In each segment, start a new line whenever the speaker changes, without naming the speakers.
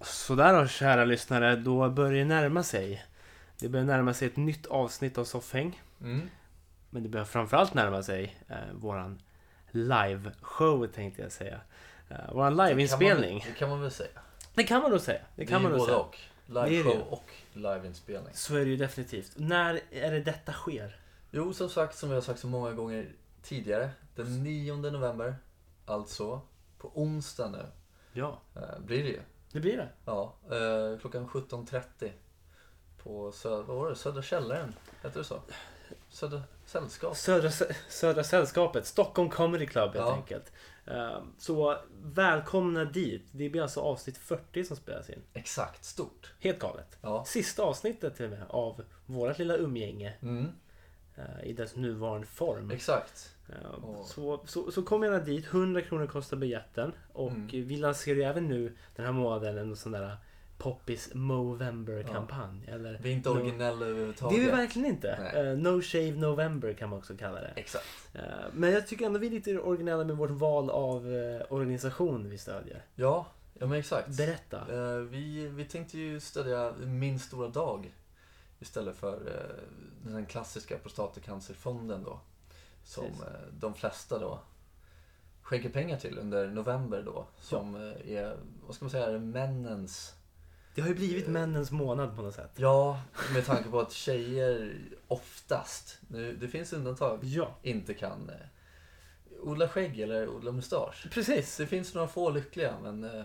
Sådär då, kära lyssnare, då börjar det närma sig. Det börjar närma sig ett nytt avsnitt av Soffhäng.
Mm.
Men det börjar framförallt närma sig eh, våran liveshow tänkte jag säga. Eh, våran liveinspelning.
Det kan man, det kan man väl säga.
Det kan man nog säga. Det kan
är
man
ju
nog
både
säga.
och.
Det är det ju.
Liveshow och liveinspelning.
Så är det ju definitivt. När är det detta sker?
Jo, som sagt, som jag har sagt så många gånger tidigare. Den 9 november, alltså på onsdag nu,
Ja,
eh, blir det ju.
det blir det.
Ja, eh, klockan 17.30 på södra, vad var det? södra källaren, heter det så? Södra sällskap.
Södra, Södra Sällskapet, Stockholm Comedy Club helt
Ja.
enkelt. Eh, Så välkomna dit. Det blir alltså avsnitt 40 som spelas in.
Exakt, stort.
Helt galet.
Ja.
Sista avsnittet till och med av vårat lilla umgänge
Mm,
eh, i dess nuvarande form.
exakt.
Eh,
Åh.
Så, så, så kom gärna dit, 100 kronor kostar biljetten. Och
Mm.
vi lanserar ju även nu den här månaden en sån där Poppis Movember-kampanj. Eller
Vi är inte
No-
originella
Det
överhuvudtaget.
är vi verkligen inte.
Nej.
Eh, no Shave November kan man också kalla det.
Exakt.
Eh, Men jag tycker ändå vi är lite originella med vårt val av eh, organisation vi stödjer.
Ja, ja men exakt.
Berätta.
Eh, vi, vi tänkte ju stödja Min stora dag istället för eh, den här klassiska prostatacancerfonden då. Som
Precis.
eh, de flesta då skänker pengar till under november då. Som eh, är, vad ska man säga, männens...
Det har ju blivit männens månad på något sätt.
Ja, med tanke på att tjejer oftast, nu, det finns undantag,
Ja,
inte kan eh, odla skägg eller odla mustasch.
precis.
Det finns några få lyckliga men eh,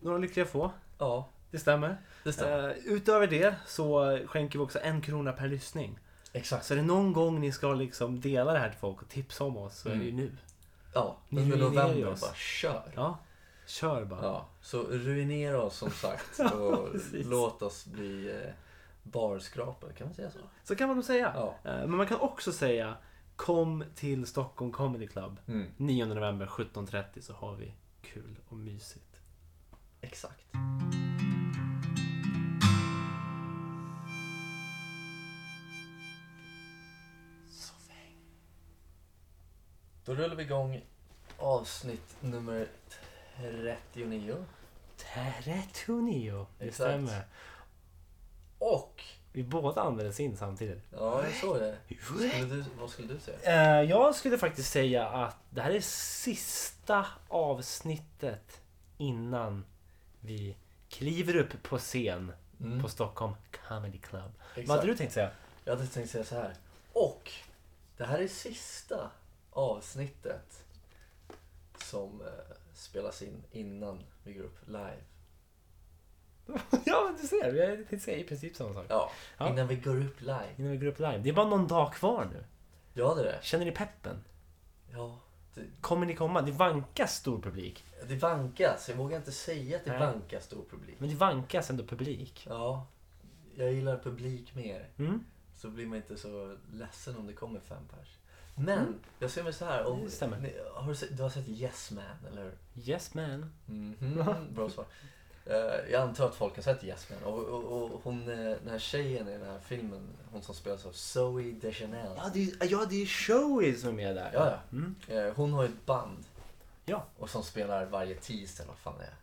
Några lyckliga få.
ja,
Det stämmer.
det stämmer.
Eh, utöver det så skänker vi också en krona per lyssning.
Exakt.
Så är det någon gång ni ska liksom dela det här till folk och tipsa om oss så är det ju
Mm.
nu.
Ja,
Ni
under
ruinerar
november
oss.
bara kör. Ja.
Ja, kör bara.
så ruinera oss som sagt och
precis.
låt oss bli eh, barskrapor, kan man säga så?
Så kan man nog säga.
Ja.
Eh, men man kan också säga kom till Stockholm Comedy Club
Mm,
9 november 17.30 så har vi kul och mysigt.
exakt. Då rullar vi igång avsnitt nummer 39
Terretonio. Det
Exakt.
stämmer.
och
Vi båda andades in samtidigt.
Ja, jag såg det. Skulle du, vad skulle du säga?
Eh, jag skulle faktiskt säga att det här är sista avsnittet innan vi kliver upp på scen
Mm,
på Stockholm Comedy Club. Vad
exakt.
hade du tänkt säga?
Jag hade tänkt säga så här. Och det här är sista avsnittet som eh, spelas in innan vi går upp live.
ja, men du ser. Jag tänkte säga i princip samma sak.
Ja,
Ja.
innan vi går upp live.
Innan vi går upp live. Det är bara någon dag kvar nu.
Ja, det är det.
Känner ni peppen?
Ja, det,
Kommer ni komma? Det vankas stor publik.
det vankas. Jag vågar inte säga att det
Nej.
vankas stor publik.
Men det vankas ändå publik.
Ja, jag gillar publik mer.
Mm.
Så blir man inte så ledsen om det kommer fem pers. Men jag ser mig så här. Om,
Mm. Det stämmer.
Ni, har du, sett, du har sett Yes Man, eller hur?
Yes man.
Mhm, bra svar. Eh, jag antar att folk har sett Yes Man. Och, och, och hon, eh, den här tjejen i den här filmen, hon som spelas av Zoe Deschanel.
Ja, det är, ja, det är Showy som är med där.
Ja, ja.
Mm.
Eh, hon har ju ett band.
Ja.
Och som spelar varje tisdag, eller vad fan det är.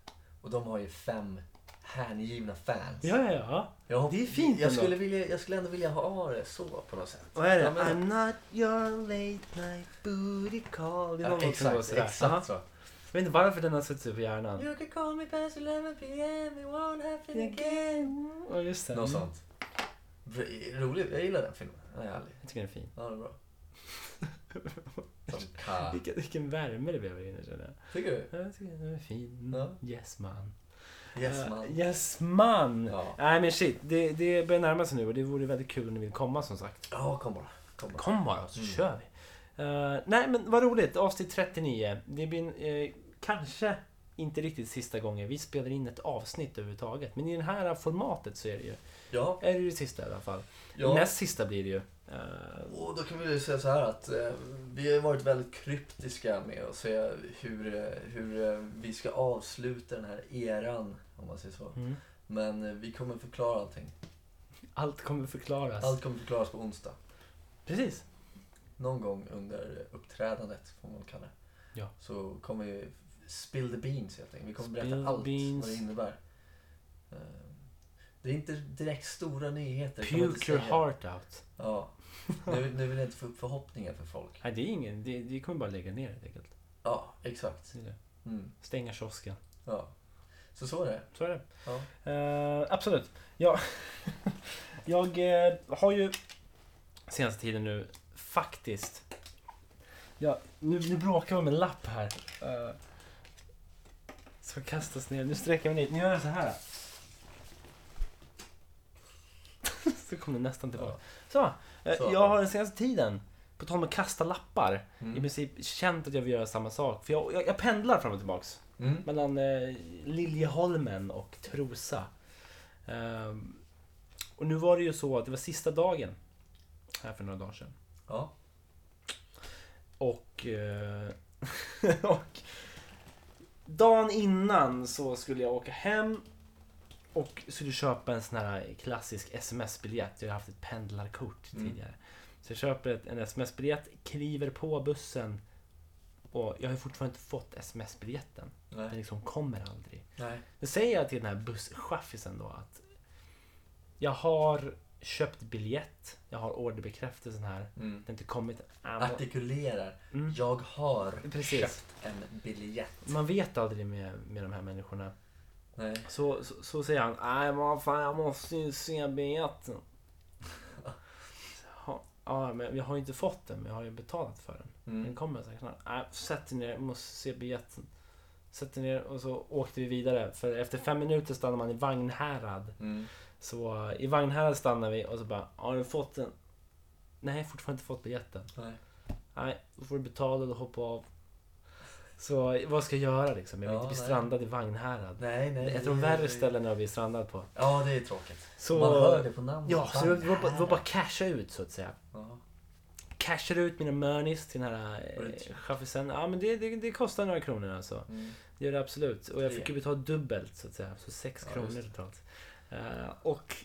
Och de har ju fem hängivna fans.
Ja, ja, ja.
Jag hop-
det är fint
jag
ändå.
skulle, vilja, jag skulle ändå vilja ha det så på något sätt.
Vad är det?
Ja, men-
I'm not your late night booty call. Det är
Ja,
någon låt som går
exakt,
sådär. Aha.
exakt så.
Jag vet inte varför den har suttit på hjärnan.
You can call me past 11 PM, it won't happen again.
Ja, just det.
Något
Mm.
sånt. Rolig, jag gillar den filmen. Den är härlig.
Jag tycker den är fin.
Ja, det är bra. Som Ka.
Vilken, vilken värme det blev här inne känner jag.
Tycker du?
Ja, Jag tycker den är fin.
Ja.
Yes man.
Yes
Eh,
man.
Yes man.
Ja.
Nej men shit, det, det börjar närma sig nu och det vore väldigt kul om ni vill komma som sagt.
Ja, kom bara. Kom bara.
Kom bara så
Mm.
kör vi. Eh, nej men vad roligt, avsnitt 39. Det blir eh, kanske inte riktigt sista gången vi spelar in ett avsnitt överhuvudtaget. Men i det här formatet så är det ju,
Ja,
är det, ju det sista i alla fall.
ja.
Näst sista blir det ju. Eh,
Och då kan vi ju säga så här att eh, vi har ju varit väldigt kryptiska med att säga hur, eh, hur eh, vi ska avsluta den här eran, om man säger så.
mm.
Men eh, vi kommer förklara allting.
Allt kommer förklaras.
Allt kommer förklaras på onsdag.
Precis.
Någon gång under uppträdandet, får man kalla det.
Ja.
Så kommer vi spill the beans helt enkelt. Vi kommer
Spill the
berätta allt
beans.
vad det innebär. Eh, Det är inte direkt stora nyheter. kan man inte
Puke your
säga.
heart out.
Ja. Nu, nu vill jag inte få upp förhoppningar för folk.
Nej, det är ingen... Det, det kommer bara lägga ner helt enkelt.
Ja, exakt.
Det är det.
Mm.
Stänga kiosken.
Ja. Så så är det.
Så är det.
Ja.
Eh, absolut. Ja, jag eh, har ju senaste tiden nu faktiskt... Ja, nu, nu bråkar vi med en lapp här. Uh, ska kastas ner. Nu sträcker vi ner. Nu gör jag så här. så kom den nästan tillbaka.
Ja.
Så, eh,
Så.
Jag har den senaste tiden, på tal om att kasta lappar, i
Mm.
princip känt att jag vill göra samma sak. För jag, jag, jag pendlar fram och tillbaks.
Mm.
Mellan eh, Liljeholmen och Trosa. Ehm, och nu var det ju så att det var sista dagen här för några dagar sedan.
Ja.
Och, eh, och dagen innan så skulle jag åka hem och skulle köpa en sån här klassisk sms-biljett. Jag har haft ett pendlarkort
Mm.
tidigare. Så jag köper ett, en sms-biljett, kliver på bussen och jag har fortfarande inte fått sms-biljetten. Den
Nej.
liksom kommer aldrig.
Nej.
Nu säger jag till den här busschaffisen då att jag har köpt biljett, jag har orderbekräftelsen här. Det
Mm.
har inte kommit... Ah, må-
Artikulerar.
Mm.
Jag har
Precis. Mm.
köpt en biljett.
Man vet aldrig med, med de här människorna.
Nej.
Så, så, så säger han, nej vad fan jag måste ju se biljetten. Så, Ja, men jag har ju inte fått den, men jag har ju betalat för den. Den
Mm.
kommer säkert snart. Nej, sätt dig ner, jag måste se biljetten. Sätt dig ner och så åkte vi vidare. För efter fem minuter stannade man i Vagnhärad.
Mm.
Så eh, i Vagnhärad stannar vi och så bara, har du fått den? Nej, jag har fortfarande inte fått biljetten.
Nej.
Nej, då får du betala och hoppa av. Så eh, vad ska jag göra liksom? Jag vill
Ja,
inte bli
nej.
strandad i Vagnhärad.
Nej, nej.
Ett av de
nej,
värre
nej.
ställena att bli strandad på.
Ja, det är tråkigt.
Så,
Man hör det på namnet.
Ja, så det var, det var, bara- det var
Vagnhärad.
bara casha ut så att säga.
Ja.
Cashade ut mina mörnis till den här
Var det
eh,
inte-
chaffisen. Ja, men det, det, det kostar några kronor alltså.
Mm.
Det gör det absolut. Och jag fick ju
Tre.
betala dubbelt så att säga. Så sex
Ja,
kronor
just det.
totalt. Eh, och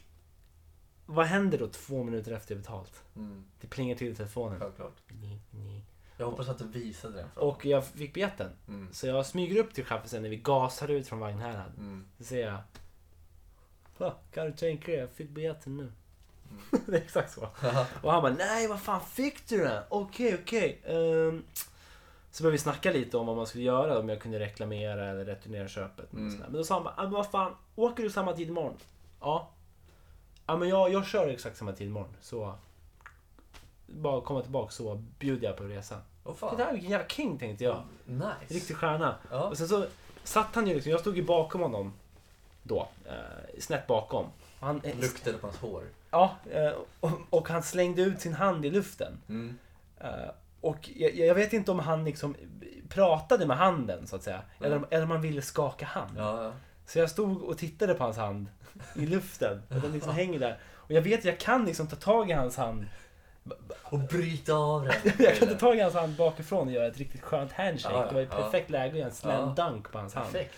vad händer då två minuter efter jag betalt?
Mm.
Det plingar till i telefonen.
Självklart.
Ni, ni.
Jag hoppas att du visade den för
Och jag fick biljetten.
Mm.
Så jag smyger upp till chaffisen när vi gasar ut från Vagnhärad.
Mm.
Så säger jag. Va? Kan du tänka dig? Jag fick biljetten nu.
Mm.
det är exakt så. Och han bara, nej vad fan fick du den? Okej, okej. ehm." så började vi snacka lite om vad man skulle göra, om jag kunde reklamera eller returnera köpet. Mm.
Mm.
Men då sa han bara, "Ah, men vad fan, åker du samma tid imorgon? Ja. Ja men jag, jag kör exakt samma tid imorgon, så... Bara komma tillbaka så bjuder jag på resan.
Åh
Det
fan.
där, vilken jävla king tänkte jag.
Nice.
Riktig stjärna.
Ja.
Och sen så satt han ju liksom, jag stod ju bakom honom då. Eh, snett bakom. Och Han, eh,
Luktade på hans hår.
Ja, eh, och, och han slängde ut sin hand i luften.
Mm.
Eh, Och jag, jag vet inte om han liksom pratade med handen så att säga. Eller, om, eller om han ville skaka hand.
Ja, ja.
Så jag stod och tittade på hans hand i luften. Och den liksom hänger där. Och jag vet att jag kan liksom ta tag i hans hand.
Och bryta av den.
Jag kan ta tag i hans hand bakifrån och göra ett riktigt skönt handshake.
Ja, ja,
det var ju
ja.
perfekt läge att göra en slam
Ja.
dunk på hans hand.
Perfekt.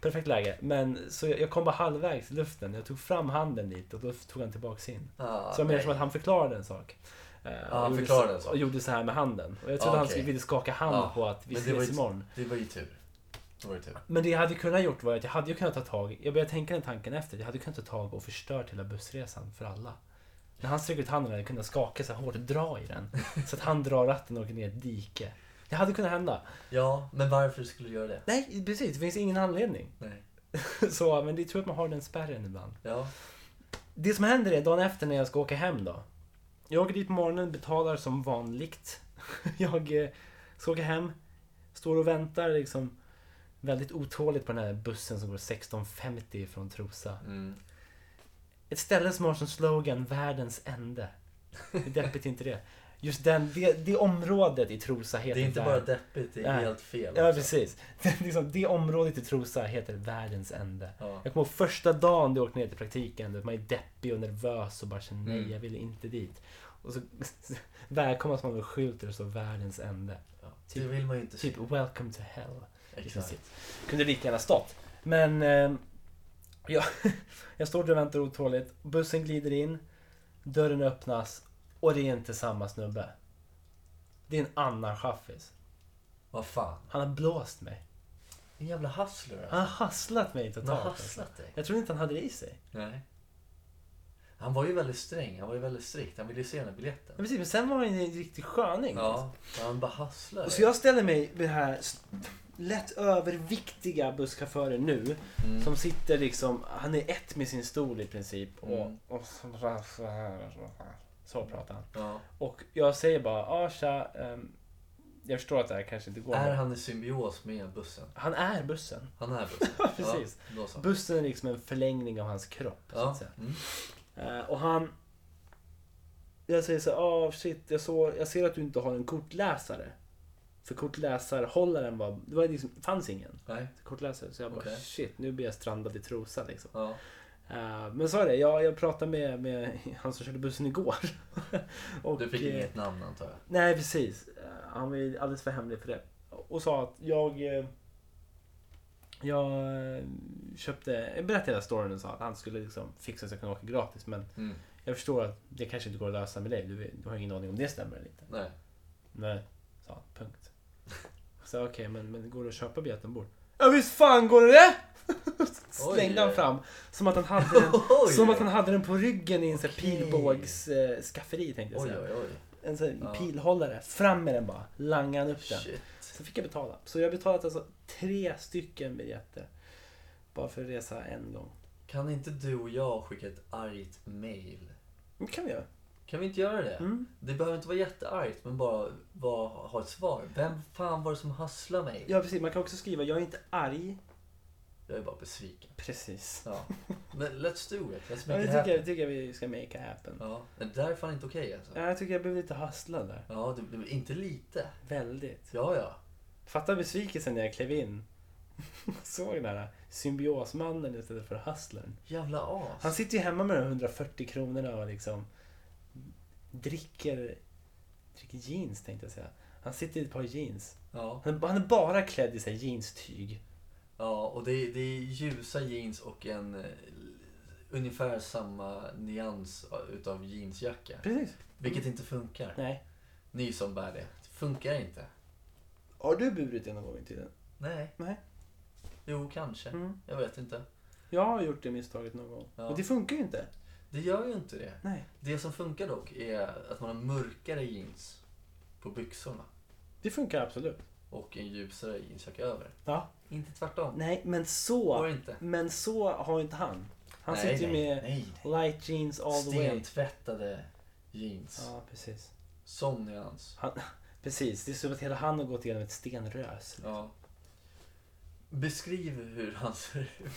Perfekt läge. Men så jag, jag kom bara halvvägs i luften. Jag tog fram handen dit och då tog han tillbaka sin.
Ah,
Så jag menar
nej.
som att han förklarade en sak. Eh, och
han
gjorde
förklarade
så-
en sak.
Och gjorde så här med handen. Och jag trodde
Ah,
han
okej.
skulle vilja skaka hand
Ja,
på att vi
men det var
ses
ju-
imorgon.
Det var ju tur. Det var ju tur.
Men det jag hade kunnat gjort var att jag hade ju kunnat ta tag Jag började tänka den tanken efter. Jag hade kunnat ta tag och förstört hela bussresan för alla. När han sträcker ut handen hade jag kunnat skaka så här hårt och dra i den. Så att han drar ratten och åker ner i ett dike. Det hade kunnat hända.
Ja, men varför skulle du göra det?
Nej, precis. Det finns ingen anledning.
Nej.
Så, men det är tur att man har den spärren ibland.
Ja.
Det som händer är dagen efter när jag ska åka hem då. Jag åker dit på morgonen, betalar som vanligt. Jag eh, ska åka hem, står och väntar liksom väldigt otåligt på den här bussen som går 16.50 från Trosa.
Mm.
Ett ställe som har som slogan Världens ände. Hur deppigt är inte det? Just den, det, det området i Trosa
Det
heter
är inte bara
värld-
deppigt, det är
Nej.
helt fel.
Ja
också.
precis. Det, liksom, det området i Trosa heter Världens ände.
Ja.
Jag kommer ihåg första dagen du åkte ner till praktiken. du vet, Man är deppig och nervös och bara känner nej,
Mm.
jag vill inte dit. Och så välkomnas man med skyltar och så världens ände.
Ja.
Typ-
det vill man ju inte se.
Typ welcome to hell. i
Exakt.
princip. Kunde lika gärna stått. Men eh, jag, jag står där och väntar otåligt. Bussen glider in. Dörren öppnas. Och det är inte samma snubbe. Det är en annan chaffis.
Vad fan.
Han har blåst mig.
En jävla hustler alltså.
Han har hasslat mig
Han har
totalt. alltså.
hasslat dig.
Jag trodde inte han hade det i sig.
Nej. Han var ju väldigt sträng, han var ju väldigt strikt. Han ville ju se den här biljetten.
Men, precis, men sen var han ju en riktig sköning.
Ja, men han bara hustlar
Mm. Och så jag ställer mig vid den här s- lätt överviktiga busschauffören nu.
mm.
Som sitter liksom, han är ett med sin stol i princip. Och,
Mm.
och så, så här, så här. Så pratar han.
ja.
Och jag säger bara, ah tja. ehm, jag förstår att det här kanske inte går.
Är
men-
han i symbios med bussen?
Han är bussen.
Han är bussen.
Precis.
Ja, då så.
Bussen är liksom en förlängning av hans kropp. Så att
Ja.
säga.
Mm.
Eh, och han... Jag säger så här, ah shit, jag, såg, jag ser att du inte har en kortläsare. För kortläsarhållaren var, det var liksom, fanns ingen
Nej.
kortläsare. Så jag bara,
Okej.
shit, nu blir jag strandad i trosan liksom.
Ja.
Eh, men så är det, jag, jag pratade med, med han som körde bussen igår. och,
Du fick
eh,
inget namn antar jag?
Nej, precis. Eh, Han var ju alldeles för hemlig för det. Och sa att jag... eh, Jag eh, köpte... Jag berättade hela storyn och sa att han skulle liksom fixa så jag kunde åka gratis. Men
Mm.
jag förstår att det kanske inte går att lösa med dig. Du, du har ingen aning om det stämmer eller inte.
Nej.
Nej, sa han. Punkt. Så okej, men, men går det att köpa biljetten ombord? Ja visst fan går det! Slängde han fram. Som att han hade den,
Oj.
som att han hade den på ryggen i en sån här
Okej.
pilbågs eh, skafferi tänkte jag
Oj,
säga
oj, oj.
en sån
Ja.
pilhållare. Fram med den bara. Langade han upp den.
Shit.
Så fick jag betala. Så jag har betalat alltså tre stycken biljetter. Bara för att resa en gång.
Kan inte du och jag skicka ett argt mail?
Det kan vi göra.
Kan vi inte göra det?
Mm.
Det behöver inte vara jätteargt, men bara, bara ha ett svar. Vem fan var det som hasslade mig?
Ja precis, man kan också skriva jag är inte arg.
Jag är bara besviken.
Precis.
Ja. Men let's do it. Let's
Ja,
make
det
it
tycker
happen.
jag, tycker jag vi ska make it happen. Ja.
Ja. Men det där är fan inte okej alltså.
jag tycker jag blev lite hustlad där.
Ja, du, du, inte lite.
Väldigt.
Ja, ja.
Fatta besvikelsen när jag klev in. Såg den här symbiosmannen istället för hustlern.
Jävla as.
Han sitter ju hemma med de 140 kronorna och liksom dricker, dricker jeans tänkte jag säga. Han sitter i ett par jeans.
Ja,
Han är, han är bara klädd i så här jeanstyg.
ja och det, är- det är ljusa jeans och en eh, ungefär samma nyans utav jeansjacka.
Precis.
Vilket inte funkar.
Nej.
Ni som bär det. Det funkar inte.
Har du burit det någon gång i tiden?
Nej.
Nej.
Jo, kanske.
Mm.
Jag vet inte.
Jag har gjort det misstaget någon gång.
Ja.
Och det funkar ju inte.
Det gör ju inte det.
Nej.
Det som funkar dock är att man har mörkare jeans på byxorna
Det funkar absolut.
och en ljusare jeansjacka över.
Ja.
Inte tvärtom.
Nej, men
Går
så.
inte.
Men så har ju inte han. Han
nej,
sitter ju
nej,
med
nej,
light jeans all the way.
Stentvättade jeans.
Ja, precis.
Sån nyans.
Han, precis. Det är som att hela han har gått igenom ett stenrös.
Ja. Beskriv hur han ser ut.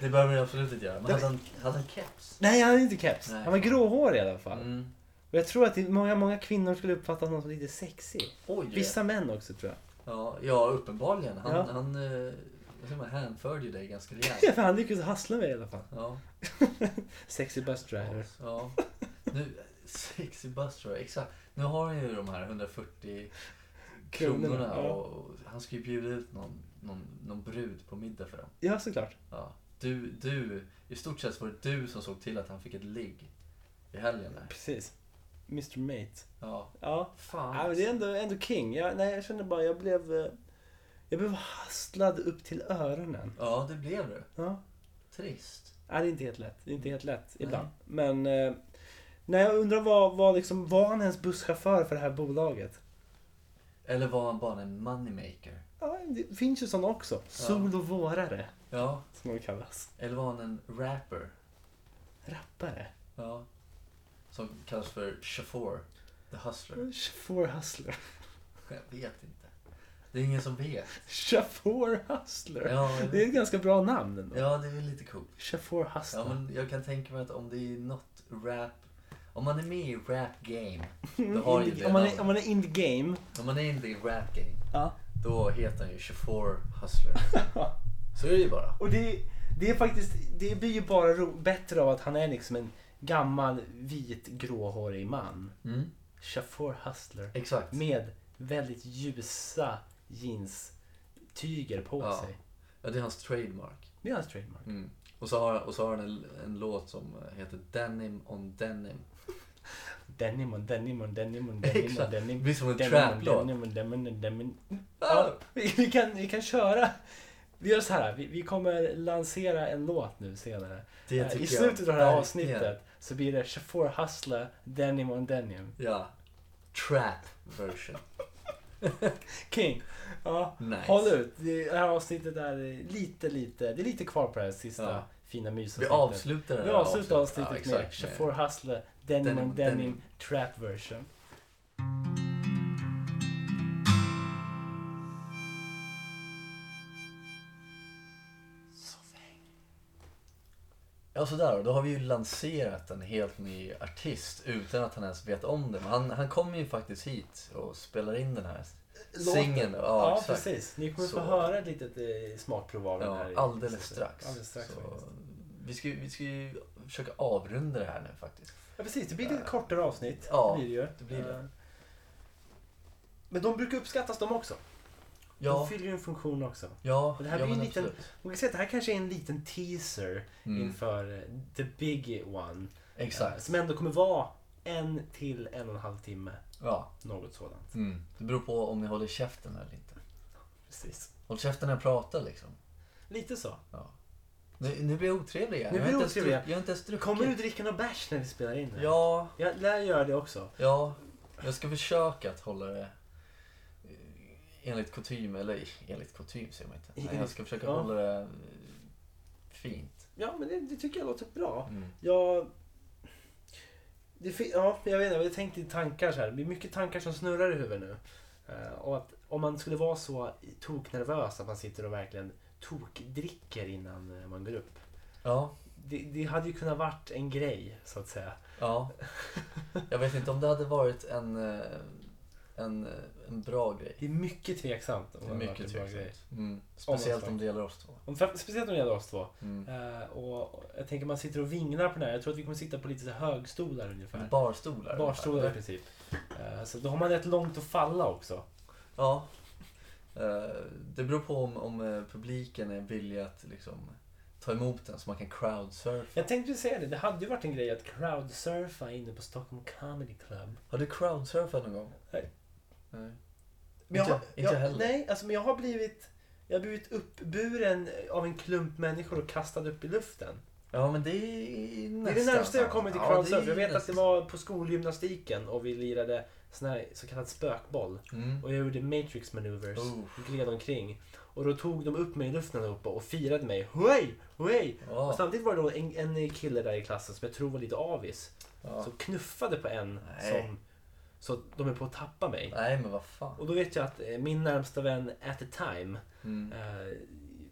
Det behöver ni absolut inte göra. Men hade han, hade han keps?
Nej, han hade inte keps.
Nej.
Han var gråhårig i alla fall.
Mm.
Och jag tror att det- många, många kvinnor skulle uppfatta honom som lite sexig.
Oj!
Vissa män också tror jag.
Ja, ja, uppenbarligen. Han,
Ja.
han eh, vad säger man, hänförde ju dig ganska rejält.
Ja, för han lyckades hassla mig i alla fall.
Ja.
Sexy bus driver.
ja. Nu, sexy bus driver, exakt. Nu har han ju de här 140
Kronorna,
kronorna
ja.
och, och han ska ju bjuda ut någon, någon, någon brud på middag för dem.
Ja, såklart.
Ja. Du, du, i stort sett var det du som såg till att han fick ett ligg i helgen där.
Precis. Mr Mate.
Ja.
Ja.
Fan.
ja men det är ändå, ändå king. Jag, nej, jag kände bara, jag blev... eh, Jag blev hasslad upp till öronen.
Ja, det blev du.
Ja.
Trist.
Nej, det är inte helt lätt. Det är inte helt lätt ibland. Men... Eh, nej, jag undrar vad, vad liksom, var han ens busschaufför för det här bolaget?
Eller var han bara en moneymaker?
Ja, det finns ju sådana också. Sol och vårare,
Ja.
som de kallas.
Eller var han en rapper?
Rappare.
Ja. Som kallas för Chauffeur. The Hustler.
Mm. Chaufför Hustler.
Jag vet inte. Det är ingen som vet.
Chaufför Hustler.
Ja,
Det är ett ganska bra namn ändå.
ja det är väl lite coolt.
Chaufför Hustler.
Ja, men jag kan tänka mig att om det är något rap... Om man är med i rap game, då har ju
In the,
det
om, man
namnet.
är, om man är in the game.
Om man är inte i rap game,
Ja.
då heter han ju Chauffeur Hustler. Så är det ju bara.
Och det, det är faktiskt, det blir ju bara ro, bättre av att han är liksom en gammal vit gråhårig man.
Mm.
Chaufför Hustler.
Exakt.
Med väldigt ljusa jeanstyger på
Ja.
sig.
Ja, det är hans trademark.
Det är hans trademark.
Mm. Och, så har, och så har han en, en låt som heter Denim on Denim.
Denimon, Denimon, Denimon, Denimon,
Exakt. Det
Denimon.
blir som en
Denimon,
trap-låt.
Denimon, Denimon, Denimon.
Ah!
Ja, vi, vi, kan, vi kan köra. Vi gör så här, vi, vi kommer lansera en låt nu senare.
Det
Eh,
tycker
I
jag
slutet av det här
verkligen.
avsnittet så blir det 24 Hustler, Denim on Denim.
Ja. Trap version.
King! Ja,
Nice.
håll ut. Det här avsnittet är lite, lite, det är lite kvar på det här sista
Ja.
fina
Vi
mysavsnittet.
avslutar det
Vi
här
avslutar
Eh, Ja,
avsnittet med
exakt.
24 Hustler, Denim,
Denim
on
on
Denim,
Denim.
Trap version.
Ja, sådär då. Då har vi ju lanserat en helt ny artist utan att han ens vet om det. Men han, han kommer ju faktiskt hit och spelar in den här
Låten.
singeln. Ja,
Ja,
exakt.
precis. Ni kommer
Så-
få höra ett litet eh, smakprov av den här. i-
Ja, alldeles strax.
Alldeles strax
Så
faktiskt.
vi, ska, ju- vi ska ju försöka avrunda det här nu faktiskt.
Ja, precis. Det blir ett lite kortare avsnitt.
Eh, Ja,
det blir det ju.
det blir det.
Eh, Men de brukar uppskattas de också. De
Ja,
fyller ju en funktion också.
ja,
Det här
ja
blir
men
en liten-
absolut.
Man kan säga att det här kanske är en liten teaser
Mm,
inför eh, the big one. Eh,
exakt.
Som ändå kommer vara en till en och en halv timme.
Ja,
Något sådant.
mm. Det beror på om ni håller käften eller inte.
Precis.
Håll käften när jag pratar liksom.
Lite så.
Ja. Nu, nu blir jag otrevlig igen.
Nu
Jag
blir
har
du
inte ens
otrevlig.
druck- Jag har inte ens druckit.
Kommer du dricka någon bärs när vi spelar in? här?
Ja,
Jag lär göra det också.
Ja, jag ska försöka att hålla det eh, enligt kutym, eller enligt kutym säger man inte. Nej, jag ska försöka
Ja.
hålla det eh, fint.
Ja, men det, det tycker jag låter bra.
Mm.
Jag... Det fin- ja, jag vet inte, jag har tänkt i tankar så här. Det blir mycket tankar som snurrar i huvudet nu. Eh, och att om man skulle vara så toknervös att man sitter och verkligen tokdricker innan eh, man går upp.
Ja,
Det, det hade ju kunnat varit en grej, så att säga.
ja. Jag vet inte om det hade varit en, eh, en, eh, en bra grej.
Det är mycket tveksamt. Om
Det är
hade varit
mycket
en bra grej.
tveksamt. Mm. Speciellt om det gäller oss två.
Om, fram- speciellt om det gäller oss två.
Mm.
Eh, och jag tänker man sitter och vinglar på den här. Jag tror att vi kommer sitta på lite så här högstolar ungefär.
Barstolar.
Barstolar i
ungefär.
princip. Eh, så då har man rätt långt att falla också.
Ja. Eh, Det beror på om, om eh, publiken är villig att liksom, ta emot den så man kan crowdsurfa.
Jag tänkte säga det, det hade ju varit en grej att crowdsurfa inne på Stockholm Comedy Club.
Har du crowdsurfat någon gång?
Nej.
Nej.
Men jag,
Inte-
har-
inte
jag,
heller.
Nej, alltså, men jag har blivit jag har blivit uppburen av en klump människor och kastad upp i luften.
Ja men det är nästan
det är det närmaste jag
sant.
kommit till
Ja,
crowdsurf.
det är
jag vet att det
nästan-
var på skolgymnastiken och vi lirade sån här så kallad spökboll.
Mm.
Och jag gjorde matrix maneuvers
Oh.
och gled omkring. Och då tog de upp mig i luften allihopa och firade mig. Hej! Hej!
Ja,
Och samtidigt var det då en, en kille där i klassen som jag tror var lite avis.
ja.
som knuffade på en
Nej.
som så att de är på att tappa mig.
Nej men vad fan.
Och då vet jag att eh, min närmsta vän at the time
Mm.
eh,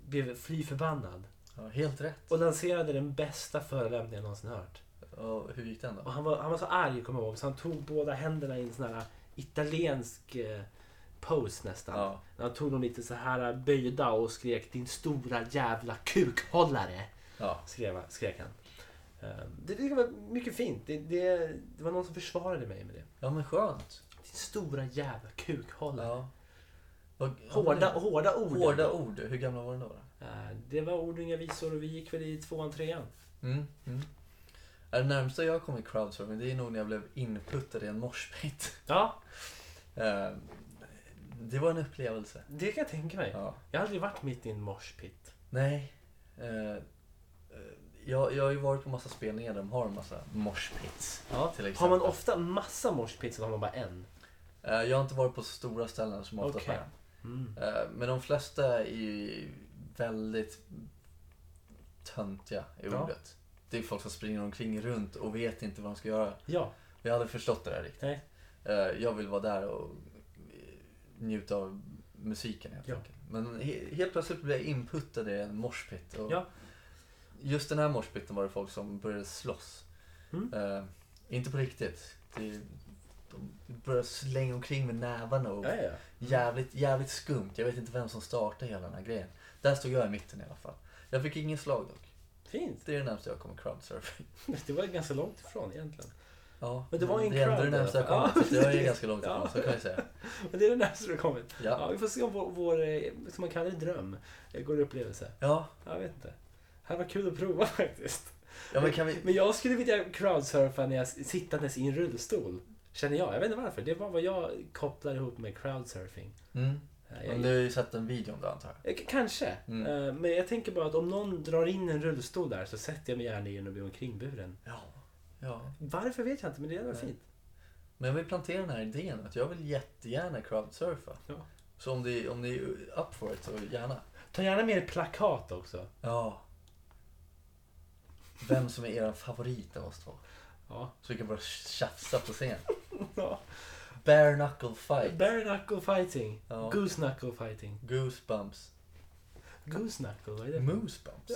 blev fly förbannad
Ja, helt rätt.
och lanserade den bästa förolämpningen jag någonsin hört.
Och hur gick den
Och
då?
han var, han var så arg kommer jag ihåg så han tog båda händerna i en sån här italiensk eh, pose nästan.
Ja.
Han tog dem lite så här böjda och skrek din stora jävla kukhållare.
Ja.
Skrev, skrek han. Eh, det, det var mycket fint. Det, det, det var någon som försvarade mig med det.
ja men skönt.
Din stora jävla kukhållare.
Ja. Vad- ja,
Hårda,
men-
hårda ord.
Hårda ord. Hur gamla var den då? då?
Eh, Det var ord och inga visor och vi gick väl i tvåan, trean.
Mm. Mm. Ja, Det närmsta jag kom i crowdsurfing det är nog när jag blev inputtad i en moshpit.
Ja,
Eh, Det var en upplevelse.
det kan jag tänka mig.
Ja.
Jag har aldrig varit mitt i en moshpit.
Nej. Eh, eh, jag, jag har ju varit på massa spelningar där de har en massa moshpits.
Ja,
till exempel.
har man ofta massa moshpits eller har man bara en?
Eh, jag har inte varit på så stora ställen som ofta
Okej.
okay.
Mm.
eh, Men de flesta är ju väldigt töntiga i
Ja.
ordet. Det är folk som springer omkring runt och vet inte vad de ska göra.
Ja,
Jag hade förstått det där riktigt.
nej.
Eh, jag vill vara där och eh, njuta av musiken helt
Ja.
enkelt. Men he- helt plötsligt blev jag inputtad i en moshpit. Och
Ja.
Just den här moshpiten var det folk som började slåss.
Mm.
Eh, inte på riktigt. Det, de började slänga omkring med nävarna och
Ja, ja, ja.
jävligt, jävligt skumt. Jag vet inte vem som startade hela den här grejen. Där stod jag i mitten i alla fall. Jag fick ingen slag dock.
Fint.
Det är det närmaste jag kommer crowdsurfing.
Det var ganska långt ifrån egentligen.
Ja,
Men det var ju en
är ändå
crowd
det
i alla
närmaste jag
fall. Ja,
kommer. så jag är
precis.
ganska långt ifrån,
Ja.
så kan jag säga.
Men det är det närmaste du har kommit.
Ja.
Ja, vi får se om vår, vår eh, som man kallar det, dröm eh, går i upplevelse.
Ja,
Jag vet inte. här var kul att prova faktiskt.
Ja, men kan vi...
Men jag skulle vilja crowdsurfa när jag sittandes i en rullstol. Känner jag. Jag vet inte varför. Det var vad jag kopplar ihop med crowdsurfing.
Mm.
Eh,
Men
Jag,
du har ju sett den videon då antar jag?
Eh, k- Kanske.
Mm.
Eh, Men jag tänker bara att om någon drar in en rullstol där så sätter jag mig gärna i den och blir omkringburen.
Ja. ja.
Varför vet jag inte, men det hade varit
Nej.
fint.
Men jag vill plantera den här idén att jag vill jättegärna crowdsurfa.
Ja.
Så om ni, om ni är up for it så gärna.
Ta gärna med er plakat också.
Ja. Vem som är er favorit av oss två.
Ja.
Så vi kan bara tjafsa på scen.
ja.
Bare knuckle fight.
Bare knuckle fighting.
Ja.
Goose knuckle fighting.
Goosebumps.
Goose knuckle, vad är det?
Moosebumps.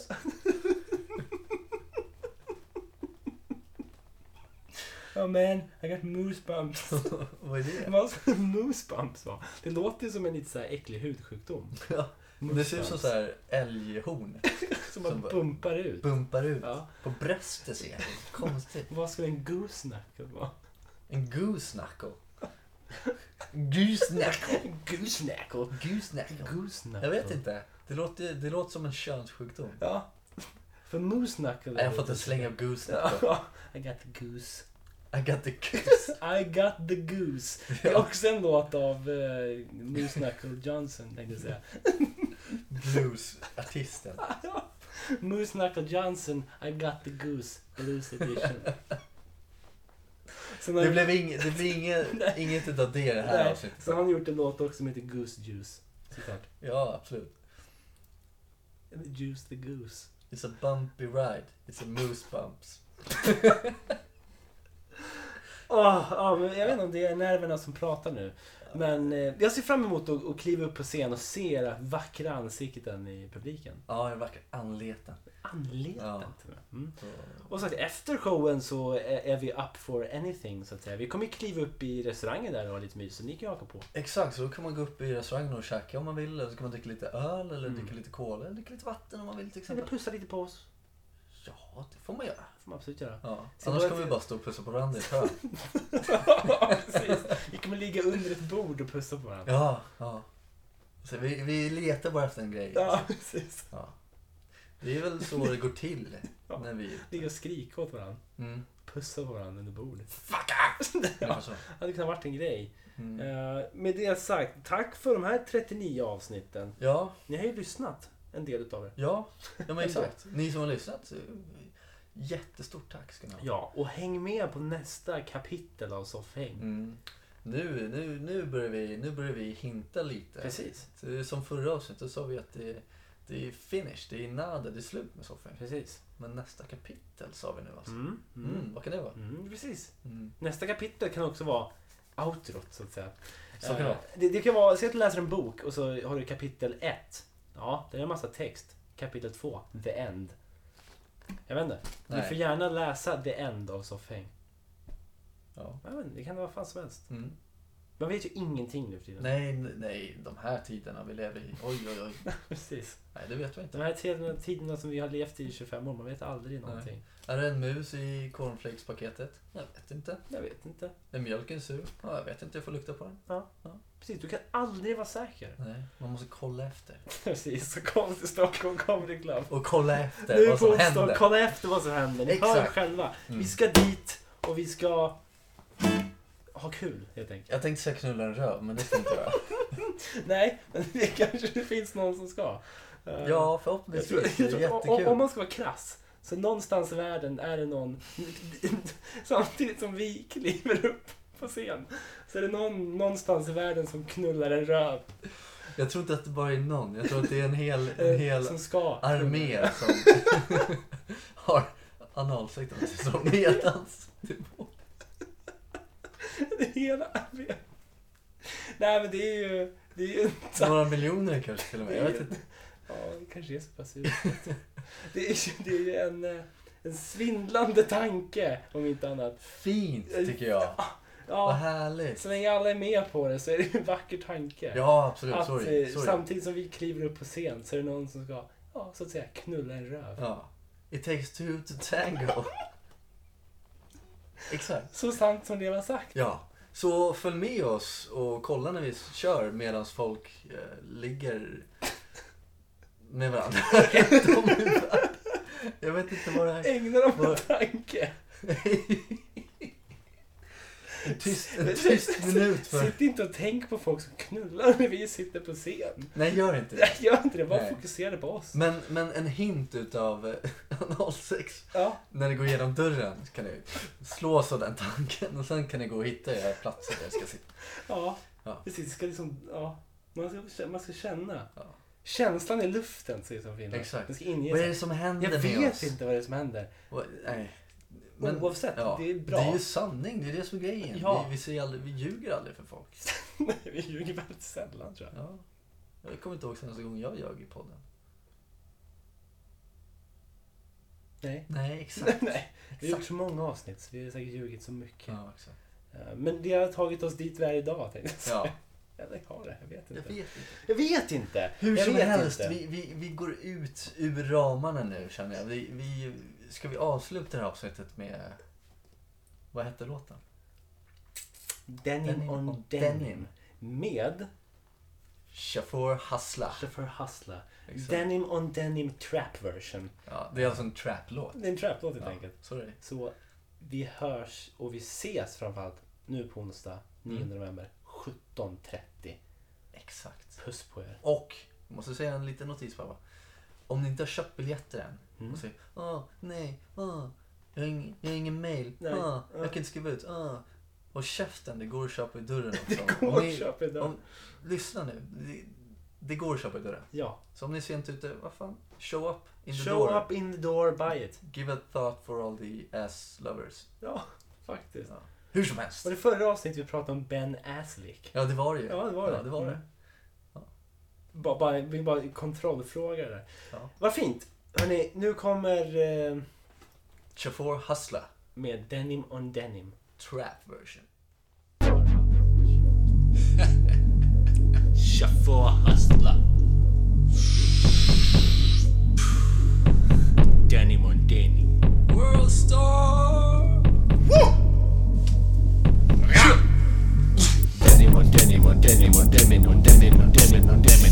Oh man, I got moosebumps.
Vad är det?
Vad ska moosebumps vara? Det låter ju som en lite så här äcklig hudsjukdom.
Ja. Det ser ut som
Moosebumps.
så här älghorn.
Som man
som bara-
bumpar ut.
Bumpar ut.
Ja.
På bröstet ser jag. Konstigt.
Vad skulle en goose knuckle vara?
En goose knuckle. Goose knuckle.
Goose knuckle.
Goose knuckle.
Goose knuckle.
Jag vet inte. Det låter, det låter som en könssjukdom.
Ja. För moose knuckle.
Nej, Jag har fått en släng av goose knuckle.
Ja. I got the goose.
I got the goose.
I got the goose. Det är också en låt av uh, Moose Knuckle Johnson tänkte jag säga.
Bluesartisten.
Moose Knuckle Johnson, I got the goose. Blues edition. Sen har,
Det blev, ing, det blev inget, inget utav det i det här
Nej,
avsnittet.
sen har han gjort en låt också som heter Goose Juice. Såklart.
Ja, absolut.
Juice the goose.
It's a bumpy ride. It's a moose bumps.
Åh, ja, men jag vet inte om det är nerverna som pratar nu. Men eh, jag ser fram emot att, att kliva upp på scen och se era vackra ansikten i publiken.
Ja, en vacker anleten.
Anleten
Ja.
till och med. Mm. Och så att efter showen så är, är vi up for anything så att säga. Vi kommer ju kliva upp i restaurangen där och ha lite mys, så ni kan ju haka på.
Exakt, så kan man gå upp i restaurangen och käka om man vill. Eller så kan man dricka lite öl eller
Mm.
dricka lite cola eller dricka lite vatten om man vill till
Eller
exempel.
pussa lite på oss.
Ja, det får man göra.
får man absolut göra.
Ja.
Sen
Annars
bara
kommer vi
till-
bara stå och pussa på varandra i ett hörn.
Ja, precis. Vi kommer ligga under ett bord och pussa på varandra.
Ja, ja. Så vi, vi letar bara efter en grej.
Ja, precis.
Ja. Det är väl så det går till
Ja.
när vi...
Ligga och skrika åt varandra.
Mm.
Pussa på varandra under bordet.
Fuck
ja,
Ja. så.
det hade kunnat varit en grej.
Mm.
Eh, med det sagt, tack för de här 39 avsnitten.
Ja,
Ni har ju lyssnat en del utav er.
ja, ja men exakt. Ni som har lyssnat, eh, jättestort tack ska ni ha.
Ja, och häng med på nästa kapitel av Soffhäng.
Mm. Nu, nu, nu, börjar vi, nu börjar vi hinta lite.
Precis.
Så Som förra avsnittet sa vi att det, det är finish, det är nada, det är slut med soffan.
Precis.
Men nästa kapitel sa vi nu alltså.
Mm.
Mm,
Mm.
vad kan det vara?
Mm, precis.
Mm.
Nästa kapitel kan också vara outrot så att säga.
Så kan det
Eh,
vara.
det, det kan vara, säg att du läser en bok och så har du kapitel 1. Ja, där är en massa text. Kapitel 2, the end. Jag vet inte. Du
Nej.
får gärna läsa the end av Soffhäng.
Ja.
Jag vet inte, Det kan vara vad fan som helst.
Mm.
Man vet ju ingenting nu för tiden.
Nej, n- nej, de här tiderna vi lever i. Oj, oj, oj.
Precis.
Nej, det vet vi inte.
De här tiderna, tiderna som vi har levt i i 25 år, man vet aldrig någonting.
Är det en mus i cornflakespaketet? Jag vet inte.
Jag vet inte.
Är mjölken sur? Ja, jag vet inte, jag får lukta på den.
Precis, du kan aldrig vara säker.
Nej, man måste kolla efter.
Precis, så kom till Stockholm Comedy Club.
Och kolla
nu
efter
på
vad som
onsdag,
händer.
kolla efter vad som händer. Ni hör
Exakt.
själva.
Mm.
Vi ska dit och vi ska ha kul helt enkelt.
Jag tänkte säga knulla en röv, men det ska jag inte göra.
Nej, men det kanske det finns någon som ska. Eh,
Ja,
jag tror,
förhoppningsvis. Det
jag
är
tror, om, om
jättekul.
man ska vara krass. Så någonstans i världen är det någon, samtidigt som vi kliver upp på scen, så är det någon någonstans i världen som knullar en röv.
Jag tror inte att det bara är någon. Jag tror att det är en hel, en
eh,
hel
som ska.
armé som har analsektorn som medans.
Hela armén. Nej men det är ju, det är ju
Några miljoner kanske till och med. Jag vet inte.
Ja, det kanske är så pass uselt. Det är ju, det är ju en, eh, en svindlande tanke, om inte annat.
Fint tycker jag. Vad
Ja,
härligt.
så länge alla är med på det så är det en vacker tanke.
Ja, absolut.
att eh,
Sorry. sorry.
samtidigt som vi kliver upp på scen så är det någon som ska, ja, så att säga, knulla en röv.
Ja. It takes two to tango. Exakt.
Så sant som det var sagt.
Ja, så följ med oss och kolla när vi kör medan folk eh, ligger med varandra. Rätt om i världen. Jag vet inte vad det här
Ägna dem en tanke.
en tyst, en tyst minut för.
Sitt inte och tänk på folk som knullar när vi sitter på scen.
Nej, gör inte det.
Nej, Gör inte det, var
Nej. Mm.
fokuserade på oss.
Men, men en hint utav eh, analsex
Ja,
när ni går igenom dörren så kan ni slås av den tanken och sen kan ni gå och hitta era platser där jag ska sitta.
ja.
Ja.
precis. Det ska liksom, ja. Man ska, man ska känna.
Ja.
Känslan i luften säger som filmen.
Exakt.
Den ska inge
Vad är
sig.
det som händer
Jag
med
vet
oss?
inte vad det är som händer.
Vad- Nej.
Oavsett, det är bra.
Det är ju sanning, det är det som är grejen.
Ja.
Vi, vi, säger aldrig, vi ljuger aldrig för folk.
Nej, vi ljuger väldigt sällan tror jag.
Ja. Jag kommer inte ihåg senaste gången jag ljög i podden.
Nej.
Nej, exakt.
Nej, vi har
Exakt.
gjort så många avsnitt så vi har säkert ljugit så mycket.
Ja, exakt.
Eh, Men det har tagit oss dit vi är idag tänkte jag säga.
Ja,
Eller har det, jag vet
jag
inte.
vet inte.
Jag vet inte!
Hur
jag
som
vet
helst,
inte.
vi, vi, vi går ut ur ramarna nu känner jag. Vi, vi, ska vi avsluta det här avsnittet med... Vad hette låten?
Denim,
Denim
on,
on
denim.
denim.
Med
Chauffeur Hassla.
Chauffeur Hassla.
Exakt.
Denim on denim trap version.
Ja, det är alltså en trap-låt.
Det är en trap-låt helt
Ja,
enkelt.
sorry.
Så vi hörs och vi ses framförallt nu på onsdag 9 november 17.30.
Exakt.
Puss på er.
Och, jag måste säga en liten notis pappa. Om ni inte har köpt biljetter än
Mm.
och säger åh, nej, åh, jag har ingen, jag har ingen mail,
Nej,
åh,
åh."
jag kan inte skriva ut, åh. Och käften, det går att köpa i dörren också.
går
Om
att
ni-
köpa i dörren.
Om, lyssna nu, det, det går att köpa i dörren.
Ja.
Så om ni är sent ute, vad fan, show up in the
Show
door.
up in the door, buy it.
Give a thought for all the ass lovers.
Ja, faktiskt.
Ja. Hur som helst.
Var det förra avsnittet vi pratade om Ben Aslick?
Ja, det var det ju.
Ja, det var det.
Ja, det, var
Mm.
det.
Bara, bara, vi bara kontrollfråga där.
Ja.
Vad fint! Hörni, nu kommer eh,
Chauffeur Hustla,
med Denim on Denim.
trap version.
Chaufför Hustla. Denim on Denim.
World star!
Denim on Denim on Denim on Denim on Denim on Denim on Denim